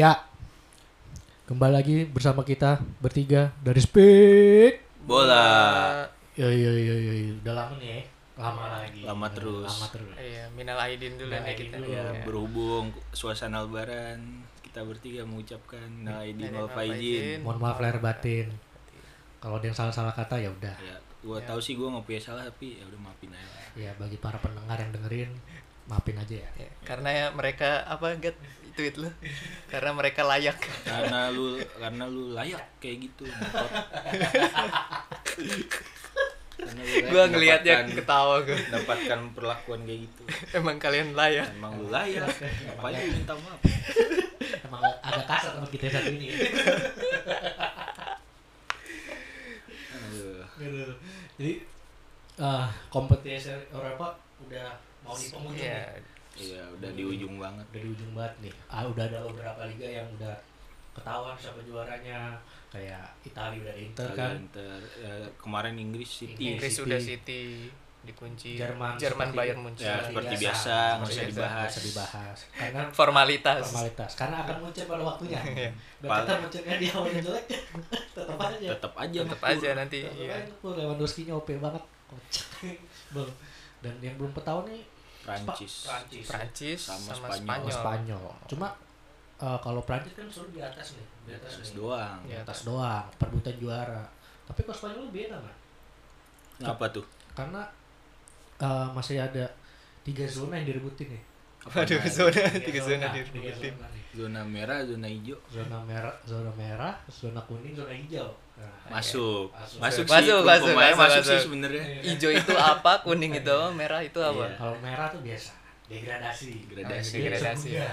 Ya, kembali lagi bersama kita bertiga dari Speed. bola Ya, ya, ya, ya, ya. udah lama nih ya. Lama lagi. Lama terus. Lama terus. Iya, minal aidin dulu Minal nih aidin kita. dulu. ya Iya. berhubung suasana lebaran kita bertiga mengucapkan nal aidin wal Wal faizin faizin. Mohon maaf lahir batin. Kalau ada yang salah-salah kata ya udah. ya gua tahu sih gua nggak punya salah tapi ya udah maafin aja Ya bagi para pendengar yang dengerin, maafin aja ya. Iya, Karena ya mereka apa gat tweet lu? Karena mereka layak. karena lu karena lu layak kayak gitu ngotot. Karena lu layak gua ngelihatnya mendapatkan- ketawa gua. mendapatkan perlakuan kayak gitu Emang kalian layak. emang lu layak ngapain lu minta maaf Emang agak kasar sama kita saat ini. ya. Aduh. Gitu. Jadi eh kompetisi Eropa udah mau di penghujung nih. Iya. iya udah di ujung banget udah di ujung banget nih ah, udah ada beberapa liga yang udah ketahuan siapa juaranya kayak Italia udah ada Inter kan Inter, eh, kemarin Inggris Iya, City Inggris City. sudah City dikunci. Jerman Jerman seperti- Bayern Munchen. Iya. ya seperti biasa nggak usah Seperti biasa. nggak dibahas usah dibahas karena Formalitas. formalitas karena akan muncul pada waktunya Iya. biar kita Pal- munculnya di awal yang jelek tetap aja tetap aja Tetap ngepur. iya. aja nanti. tetap Iya. aja tuh Lewandowski nya OP banget kocak Bel. dan yang belum ketahuan nih Prancis Spa- Prancis Prancis Sama sama, Spanyol. Spanyol. Sama Spanyol cuma eh, kalau Prancis kan selalu di atas nih di atas, Prancis nih. doang Ya. di atas doang perebutan juara tapi kalau Spanyol beda nggak apa tuh karena eh, masih ada tiga zona yang direbutin ya Apa ada? Waduh, iya. zona tiga zona di tiga tim. zona nih. zona merah zona hijau zona merah zona merah zona kuning zona hijau nah, masuk Masuk. masuk sih Masuk, masuk masuk, masuk, masuk, sih masuk. sebenarnya Ijo itu apa? Kuning itu apa? Merah itu apa? kalau merah tuh biasa degradasi Degradasi. Dia Degradasi. segunda.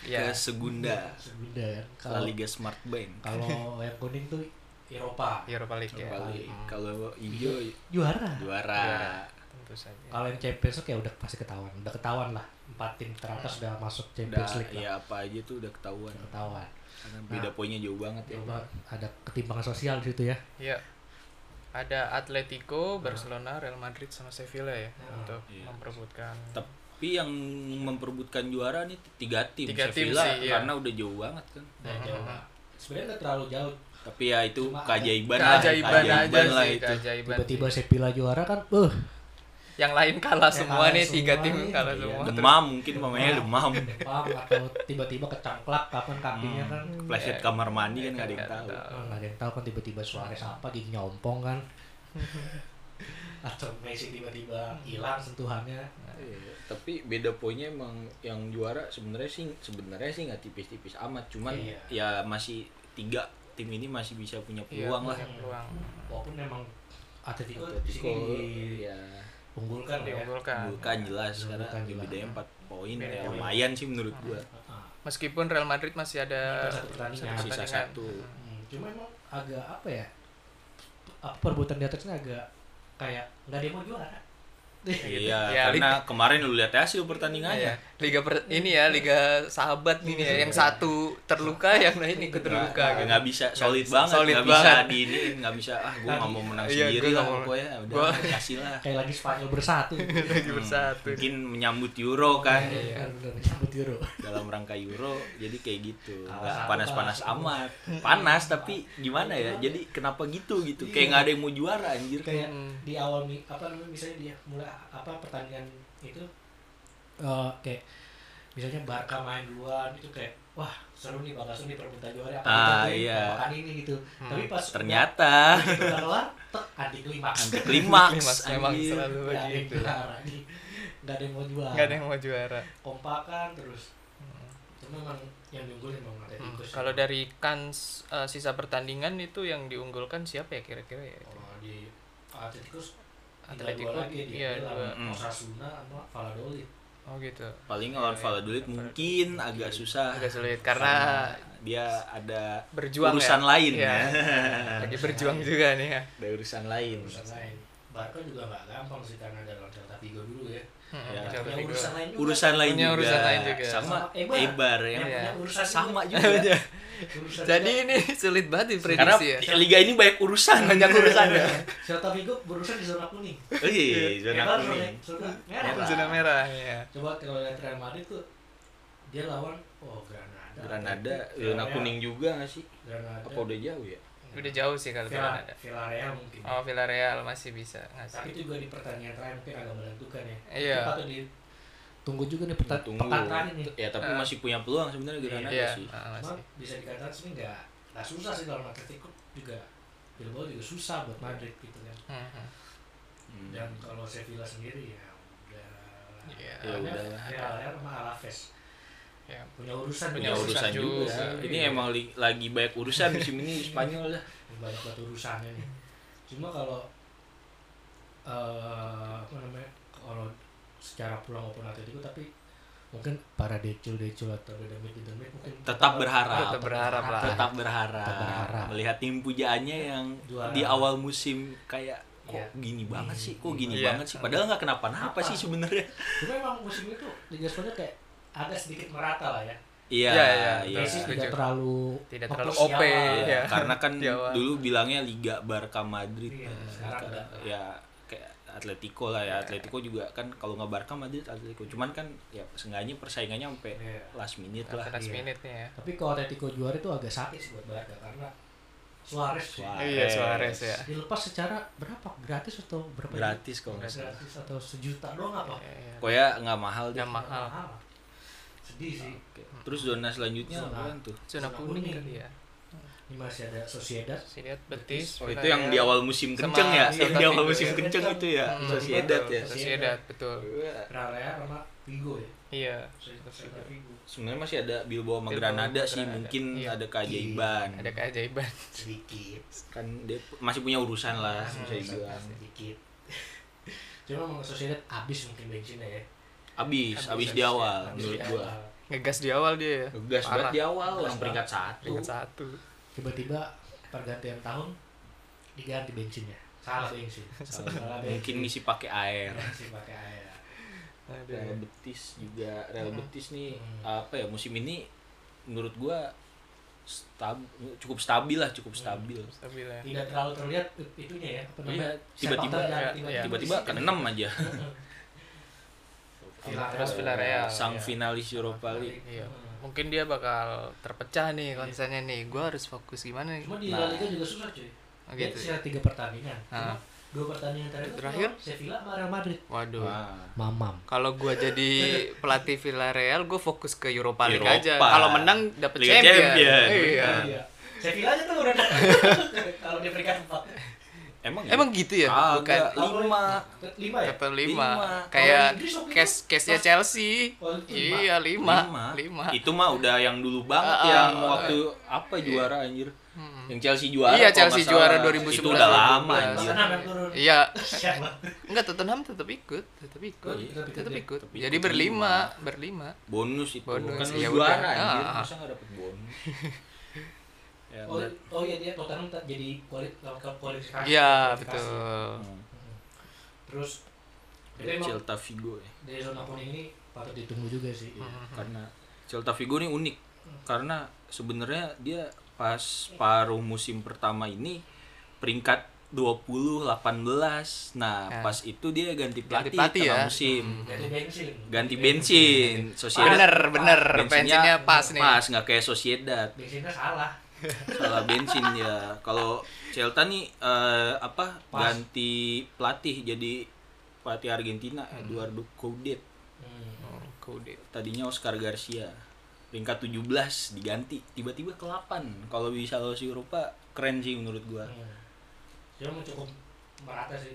ke Iya. segunda segunda kan La kalau Liga Smart Ya. Bank kalau yang kuning tuh Eropa Europa League ya. Kali- Ah. kalau hijau juara juara Tentu saja. kalau yang Champions League ya udah pasti ketahuan udah ketahuan lah empat tim teratas udah masuk udah Champions League lah ya apa aja tuh udah ketahuan Nah. Udah ketahuan karena beda poinnya jauh banget ya coba ada ketimpangan sosial di situ ya Iya. Ada Atletico, Barcelona, Real Madrid sama Sevilla ya untuk Nah. Iya. memperebutkan. tapi yang memperebutkan juara nih tiga tim Tiga tim Sevilla, sih, iya. karena udah jauh banget kan Nah, jauh lah. Sebenarnya nggak terlalu jauh. tapi ya itu Cuma ada- keajaiban lah Keajaiban aja lah sih, itu keajaiban. Tiba-tiba sih. Sevilla juara kan, uh, yang lain kalah kalah semua nih, tiga semua tim nih. kalah Iya. semua. Terus demam mungkin mamanya demam paham atau tiba-tiba kecangklak kapan kakinya Hmm. kan. Kepleset kamar mandi kan gak ada yang nggak tahu. ada yang Oh, nggak ada yang tahu kan tiba-tiba Suarez apa giginya ompong kan. atau Messi tiba-tiba hilang sentuhannya. Iya, Tapi beda poinnya emang yang juara sebenarnya sih sebenarnya sih nggak tipis-tipis amat, cuman Iya. ya masih tiga tim ini masih bisa punya Iya, peluang lah. Iya. punya peluang Walaupun memang Atletico di Atletico, Iya. sini ya diunggulkan ya. diunggulkan. bukan jelas karena Bukan jelas. bedanya empat poin Kan. Beda ya poin. lumayan sih menurut gua. Heeh. Meskipun Real Madrid masih ada Satu pertandingan. satu Sisa pertandingan. satu. Hmm, Cuma emang agak apa ya? Apa perbuatan di atasnya agak kayak nggak ada yang mau juara. Iya, Ya, karena kemarin lu lihat hasil pertandingannya. Iya. Liga per- ini ya liga sahabat nih ya, yang satu terluka, yang lain Iya. ikut Nggak- terluka gitu. nggak bisa solid bisa, banget, solid nggak bisa banget. di ini, nggak bisa ah gua nggak mau menang Iya, gua sendiri lah nggak mau- pokoknya udah gua- kasih lah. Kayak lagi Spanyol bersatu. Iya. Lagi bersatu. Mungkin menyambut Euro kan. Iya, benar nyambut Euro. dalam rangka euro jadi kayak gitu Kalah nggak satu, panas-panas kalah satu. amat panas tapi gimana ya jadi kenapa gitu gitu kayak nggak ada yang mau juara anjir Kayak Hmm. di awal mi- apa namanya misalnya dia mulai apa pertandingan itu eh kayak misalnya Barca main duluan itu kayak wah seru nih bakal seru nih perebutan juara apa Ah, kita tuh iya. makan ini gitu. Hmm, Tapi pas ternyata udah- gitu udah kelar tek anti klimaks. anti Klimaks klimaks memang anjir. selalu Nggak ada yang begitu. juara nih. Nggak ada yang mau juara. gitu. Nggak ada yang mau juara. Kompakan terus. Cuma emang yang unggul emang ada Hmm, Tikus. Kalau dari kans eh, sisa pertandingan itu yang diunggulkan siapa ya kira-kira ya? Kalau di Atletico tinggal Atletico, dua Oh, lagi ya, dia iya, dua. bilang Mm. Osasuna sama Valladolid. Oh gitu. paling lawan Valladolid mungkin agak susah Agak sulit karena dia ada Berjuang urusan ya? lain Iya. ya lagi Nah, berjuang juga nih ya. ada urusan lain Urusan lain. Barca juga nggak gampang sih karena ada lawan Celta Vigo dulu ya. Hmm, Ya. Celta Punya Vigo. urusan lain juga. urusan lain Punya juga, urusan lain juga. sama Sama Eibar. Ebar ya Yang Iya. punya urusan sama juga. juga Urusan Jadi juga. ini sulit banget karena diprediksi ya. liga ini banyak urusan banyak urusan ya Celta Vigo berurusan di zona kuning. oh iya zona Eibar kuning Zona Merah. merah. Zona merah ya. Coba kalau lihat Real Madrid tuh dia lawan oh Granada. Granada, Villarreal. zona kuning juga nggak sih? Granada. Iya. Apa udah jauh ya? Udah jauh sih kalau Villa, Granada. Villarreal mungkin. Oh, Villarreal masih bisa Tapi ngasih. itu juga di pertandingan terakhir mungkin agak menentukan ya. Iya. Itu patut di tunggu juga nih pekan, Tunggu. pekan terakhir nih. Ya tapi Ah. masih punya peluang sebenarnya Granada Iya, sih. ah, Cuma masih. bisa dikatakan sih nggak nggak susah sih kalau Atletico juga Bilbao juga susah buat Madrid gitu kan. Hmm, hmm. Hmm. Dan kalau Sevilla sendiri ya udah lah. Iya. Ya Karena udah lah. Villarreal sama Alaves Ya. punya urusan Iya. Punya Punya nih. urusan urusan juga. juga. Ini emang li- lagi banyak urusan musim ini Spanyol dah. banyak banget urusannya nih cuma kalau eh apa namanya kalau secara pulang maupun Atletico tapi mungkin para decul-decul atau dedemit dedemit mungkin Tetap berharap. Tetap berharap lah. Tetap berharap. Tetap berharap. Melihat tim pujaannya yang Juara. di awal musim kayak kok Iya. gini banget sih, kok gini Iya. banget sih. Padahal nggak kenapa-napa sih sebenarnya. cuma emang musim itu Liga Spanyol kayak agak sedikit merata lah ya Iya, Iya, iya. iya. Messi tidak setuju. terlalu Tidak terlalu fokus OP, siapa. Iya. Karena kan Di awal. dulu bilangnya Liga Barca Madrid. Iya, Nah, sekarang sekarang udah. ya kayak Atletico Iya. lah ya. Atletico juga kan kalau nggak Barca Madrid Atletico. Cuman kan ya seenggaknya persaingannya sampai Iya. last minute lah. Last Iya. minute nih ya. tapi kalau Atletico juara itu agak sakit sih buat Barca karena Suarez, sih. Suarez. Iya, Suarez ya. dilepas secara berapa gratis atau berapa Iya. Gratis kalau nggak salah. gratis atau sejuta doang apa Iya, iya. Koya nggak iya. mahal deh. Udah mahal. sedih sih Oke. Terus zona selanjutnya Zona. apaan tuh? Zona Zona kuning kuning. kali ya. ini masih ada Sociedad Saya lihat Betis. Oh itu yang di awal musim ya. Sama kenceng ya, yang di Celta awal Vigo musim ya. kenceng itu ya, Hmm, Sociedad betul, ya. Sociedad, betul. Rarea sama Vigo ya Iya. Hmm. Sociedad Vigo Sebenarnya masih ada Bilbao sama Bilbao Granada sama sih, Granada. mungkin Iya. ada keajaiban. Ada keajaiban. sedikit Kan dia masih punya urusan lah, Hmm, bisa dibilang. sedikit cuma emang Sociedad abis mungkin bensinnya ya Abis, Abis, abis abis di ya. awal Abis menurut di gua. Ngegas di awal dia ya. Ngegas banget Parah. di awal, Ngegas orang banget. peringkat satu. Peringkat satu. tiba-tiba pergantian tahun diganti bensinnya salah bensin Salah. salah Mungkin bensin ngisi pakai air. bensin pakai air Real Aduh. Betis juga Real Hmm. Betis nih Hmm. apa ya musim ini menurut gua stab, cukup stabil lah cukup stabil Stabil ya. tidak terlalu terlihat itunya ya apa namanya Iya, tiba-tiba- sepak terjang, iya, iya. tiba-tiba ke enam aja Villarreal. Terus Villarreal, sang iya. finalis Europa League Iya. Mungkin dia bakal terpecah nih konsennya nih. Gua harus fokus gimana nih? Cuma di Nah. La Liga juga susah cuy. Oh, Dia gitu ya? secara tiga pertandingan. Cuma Ah. dua pertandingan terakhir, itu Terakhir? Sevilla sama Real Madrid. Waduh. Wah. Mamam. Kalau gua jadi pelatih Villarreal, gua fokus ke Europa League Eropa. aja. Kalau menang dapet Liga champion. Champion. Iya. Iya. Sevilla aja tuh udah kalau di peringkat empat. emang ya? Emang gitu ya? Kagak. Bukan Lima. Lima ya. tetap lima. Lima. Kayak Kalau Inggris waktu case itu case-nya pas- Chelsea. Waktu itu lima. Iya, lima. Lima. itu mah udah yang dulu banget Ah, yang ah, waktu apa juara anjir Hmm. yang Chelsea juara Iya, kalau Chelsea nggak juara salah. 2011. itu udah lama 2012. anjir Tottenham yang Iya, turun. Iya. Siapa? Enggak, Tottenham tetap ikut, tetap ikut. Oh, iya, tetap ikut tetap ya. ikut. Tetap Jadi ikut berlima, berlima. bonus itu Bonus, kan lu ya juara udah. anjir Ah. masa nggak dapet bonus ya, Oh, berat. oh iya dia Tottenham tak jadi kuali- lawan kualifikasi. Iya, Kualifikasi. betul. Hmm. Terus itu emang Celta Vigo Hmm, ya dari zona kuning ini patut ditunggu juga sih. karena Celta Vigo ini unik karena sebenarnya dia pas paruh musim pertama ini peringkat 20 18. Nah, Nah. pas itu dia ganti pelatih, pelatih tengah ya. musim. Ganti bensin. Ganti bensin. Sociedad Bener, bener. Pensinya pas nih. ya, Pas nggak kayak Sociedad. Bensinnya salah. Salah bensin ya. Kalau Celta nih eh, apa Pas. ganti pelatih jadi pelatih Argentina Eduardo Coudet. Hmm. Oh, Kode. tadinya Oscar Garcia peringkat 17 diganti tiba-tiba ke 8 kalau bisa lolos Eropa keren sih menurut gua Hmm. Dia emang cukup merata sih.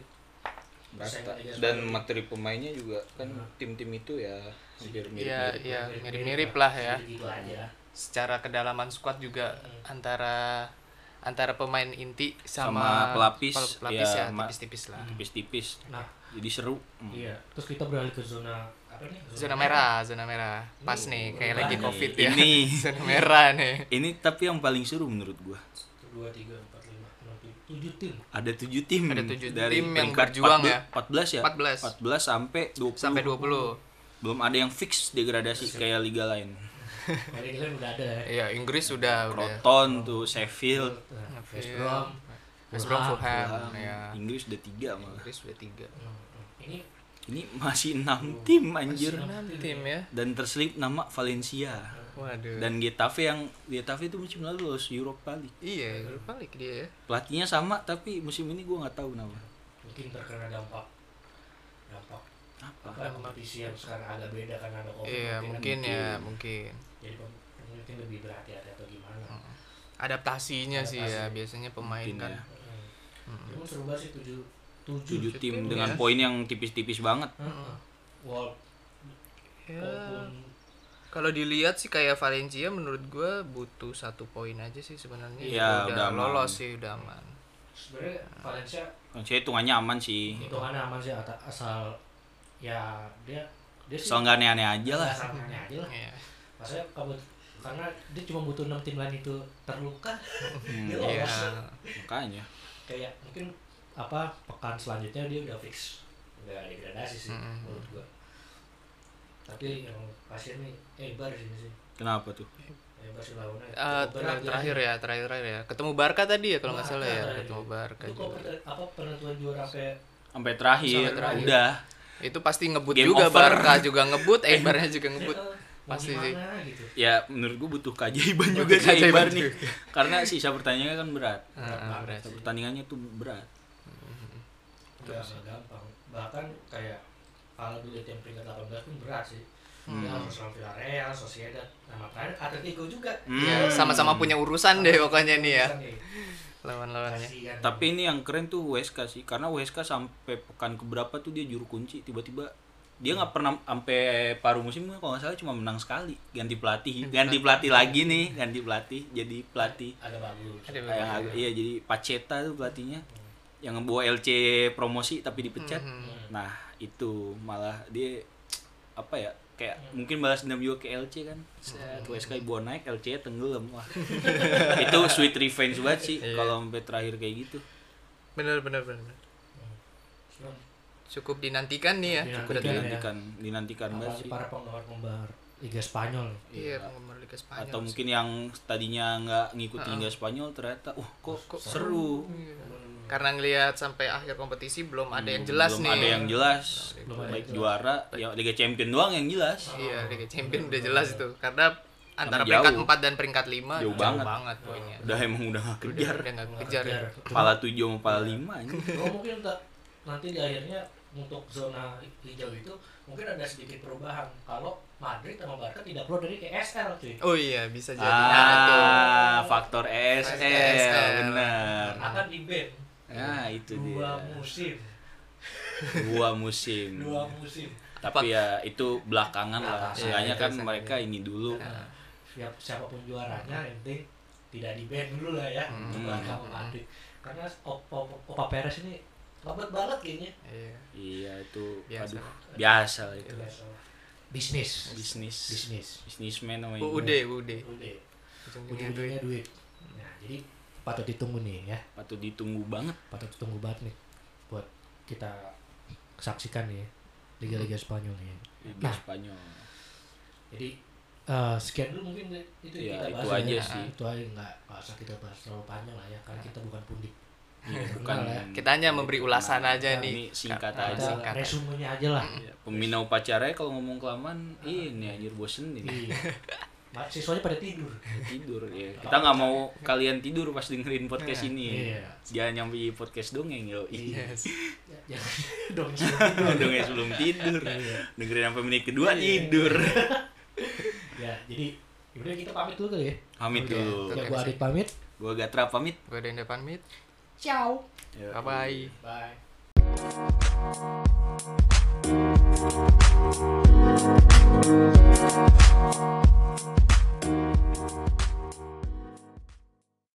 Rata. dan materi pemainnya juga kan tim-tim itu ya hampir mirip Hmm. Iya, iya, mirip-mirip lah ya. Gitu aja. Secara kedalaman squad juga antara antara pemain inti Sama sama, pelapis, pel- pelapis ya, ya, ma- tipis-tipis lah. tipis-tipis Nah, jadi seru Hmm. iya. Terus kita beralih ke zona apa nih? Zona merah, zona merah. Pas nih Ini- kayak lagi Covid ya. ini. zona merah nih. ini tapi yang paling seru menurut gua Satu, Dua, tiga, empat, lima, enam, tujuh, tujuh tim. ada tujuh tim Ada tujuh dari tim yang peringkat berjuang 14 14 ya ya. 14 14. sampai 20 Sampai 20. belum ada yang fix degradasi kayak liga Oh, lain Dari kalian udah ada ya. Iya, Inggris sudah udah. Iya. Croton tuh Sheffield Nah, West Brom. West Brom Fulham Fulham. ya. Inggris udah tiga malah Inggris sudah tiga. Hmm, hmm. Ini Ini masih enam tim anjir Masih enam Enam tim ya. dan terselip nama Valencia. Hmm. Waduh. Dan Getafe yang Getafe itu musim lalu lolos Europa League. iya, Europa League dia ya. Pelatihnya sama tapi musim ini gua nggak tahu nama. mungkin terkena dampak dampak Apa? apa kompetisi yang sekarang agak beda karena ada Oh, covid kan Iya, mungkin ya, mungkin. jadi pem- mungkin lebih berhati-hati atau gimana Hmm. Adaptasinya sih ya, Adaptasi. biasanya pemain Mungkin kan. ya. Hmm. Mm. Emang seru banget sih tujuh tujuh, Tujuh tim Tujuh, dengan ya. poin yang tipis-tipis banget. Hmm. Heeh. Wal- Ya, walaupun Kalau dilihat sih kayak Valencia menurut gua butuh satu poin aja sih sebenarnya. Iya, udah aman. lolos sih, udah aman. sebenarnya Valencia Saya hitungannya aman sih. Iya. itu kan aman sih ata- asal ya dia dia sih Soal nggak aneh-aneh aja lah. asal nanya aja lah Iya. maksudnya kabut karena dia cuma butuh enam tim lain itu terluka Hmm, Dia Iya. lolos. makanya. kayak mungkin apa pekan selanjutnya dia udah fix nggak degradasi sih Mm-mm. menurut gua tapi yang kasihan nih Eibar sih ini sih Kenapa tuh? Eibar sih lawannya Ah, cukup berat ter- terakhir ya, terakhir-terakhir ya. Ketemu Barca tadi ya kalau nggak Barca salah ya, tadi. ketemu Barca itu kok juga. perte- apa penentuan juara sampai Sampai terakhir, Sampai terakhir. udah. Itu pasti ngebut Game juga over. Barca juga ngebut, Eibarnya juga ngebut. eh, mau Pasti sih. gimana gitu Ya menurut gua butuh keajaiban Butuh juga sih keajaiban Eibar nih. juga. Karena sisa pertanyaannya kan berat. Heeh, ya. Barca. berat. Sih. Pertandingannya tuh berat. nggak nggak gampang bahkan kayak kalau dulu tim peringkat 18 pun berat sih Hmm. ya harus lawan Villarreal, Sociedad, nama terakhir Atletico juga Iya. Ya, sama-sama punya urusan deh pokoknya nih ya Bisa nih, lawan-lawannya. kasihan. Tapi ini yang keren tuh WSK sih, karena WSK sampai pekan keberapa tuh dia juru kunci tiba-tiba dia nggak pernah sampai paruh musim kalau nggak salah cuma menang sekali ganti pelatih ganti pelatih lagi nih ganti pelatih jadi pelatih ada bagus Ada yang beberapa. iya jadi Paceta tuh pelatihnya yang ngebawa LC promosi tapi dipecat Mhm. nah itu malah dia apa ya kayak mungkin balas dendam juga ke LC kan set WSK ibu naik LC tenggelam wah itu sweet revenge banget sih Iya. kalau sampai terakhir kayak gitu Bener bener bener. bener. Cuman, Cukup dinantikan nih ya. Dinantikan. Udah Iya, ya. dinantikan dinantikan banget apalagi sih. para penggemar penggemar Liga Spanyol Iya, penggemar Liga Spanyol. atau sih. mungkin yang tadinya nggak ngikutin Liga Spanyol ternyata uh kok, Kok seru Iya. Hmm. Karena ngelihat sampai akhir kompetisi belum ada yang jelas Hmm, belum nih. Nah, gitu. ada yang jelas Belum ada baik yang jelas. juara ya Liga Champion doang yang jelas Iya, Liga Champion udah jelas itu. Karena antara jauh. peringkat 4 dan peringkat 5 Jauh banget. poinnya. udah emang udah nggak Udah kejar udah nggak Nggak kejar. kejar. ya. kepala tujuh sama kepala lima ini Oh, mungkin tak nanti di akhirnya untuk zona hijau itu mungkin ada sedikit perubahan kalau Madrid sama Barca tidak keluar dari ESL cuy Oh iya, bisa jadi. Nah, itu. ah faktor SL SL. benar akan di ban nah itu dua dia Iya. musim dua musim dua musim tapi ya itu belakangan lah Belakangan. seenggaknya kan Iya, itu seenggaknya. mereka ini dulu siap siapapun juaranya yang penting tidak di ban dulu lah ya untuk Hmm. Barca sama Madrid karena Opa, Opa Perez ini ngebet banget kayaknya Iya. Iya itu Biasa. Iya. aduh biasa lah itu. bisnis Bisnis. bisnis Bisnismen namanya. UUD, UUD. udah ujung-ujungnya Iya, Ujung-ujungnya duit. ya. duit nah jadi patut ditunggu nih ya Patut ditunggu banget. patut ditunggu banget nih buat kita saksikan nih ya, liga-liga Spanyol nih Liga Nah. ya, Spanyol. jadi eh, sekian dulu mungkin itu yang Ya, kita itu bahas aja ya. sih. itu aja nggak nggak usah kita bahas terlalu panjang lah ya karena kita bukan pundik Iya, Kenal ya. Nah, Kita hanya memberi ulasan aja Ini nih. singkat Nah, aja. kita singkat. resumenya aja lah Iya, Pembina upacaranya kalau ngomong kelamaan ini anjir bosen ini Iya. Ma- siswanya pada tidur tidur ya. Kita nggak mau kalian tidur pas dengerin podcast ini. Iya. Jangan nyampe podcast dongeng yo. Iya. Yes. Ya, jangan dong Dongeng sebelum tidur. Iya. Dengerin sampai menit kedua tidur. ya jadi udah kita pamit dulu kali ya Pamit Udah. dulu. ya gua Adit pamit Gua Gatra pamit. Gue ada yang depan mid. ciao Yo. Bye bye. bye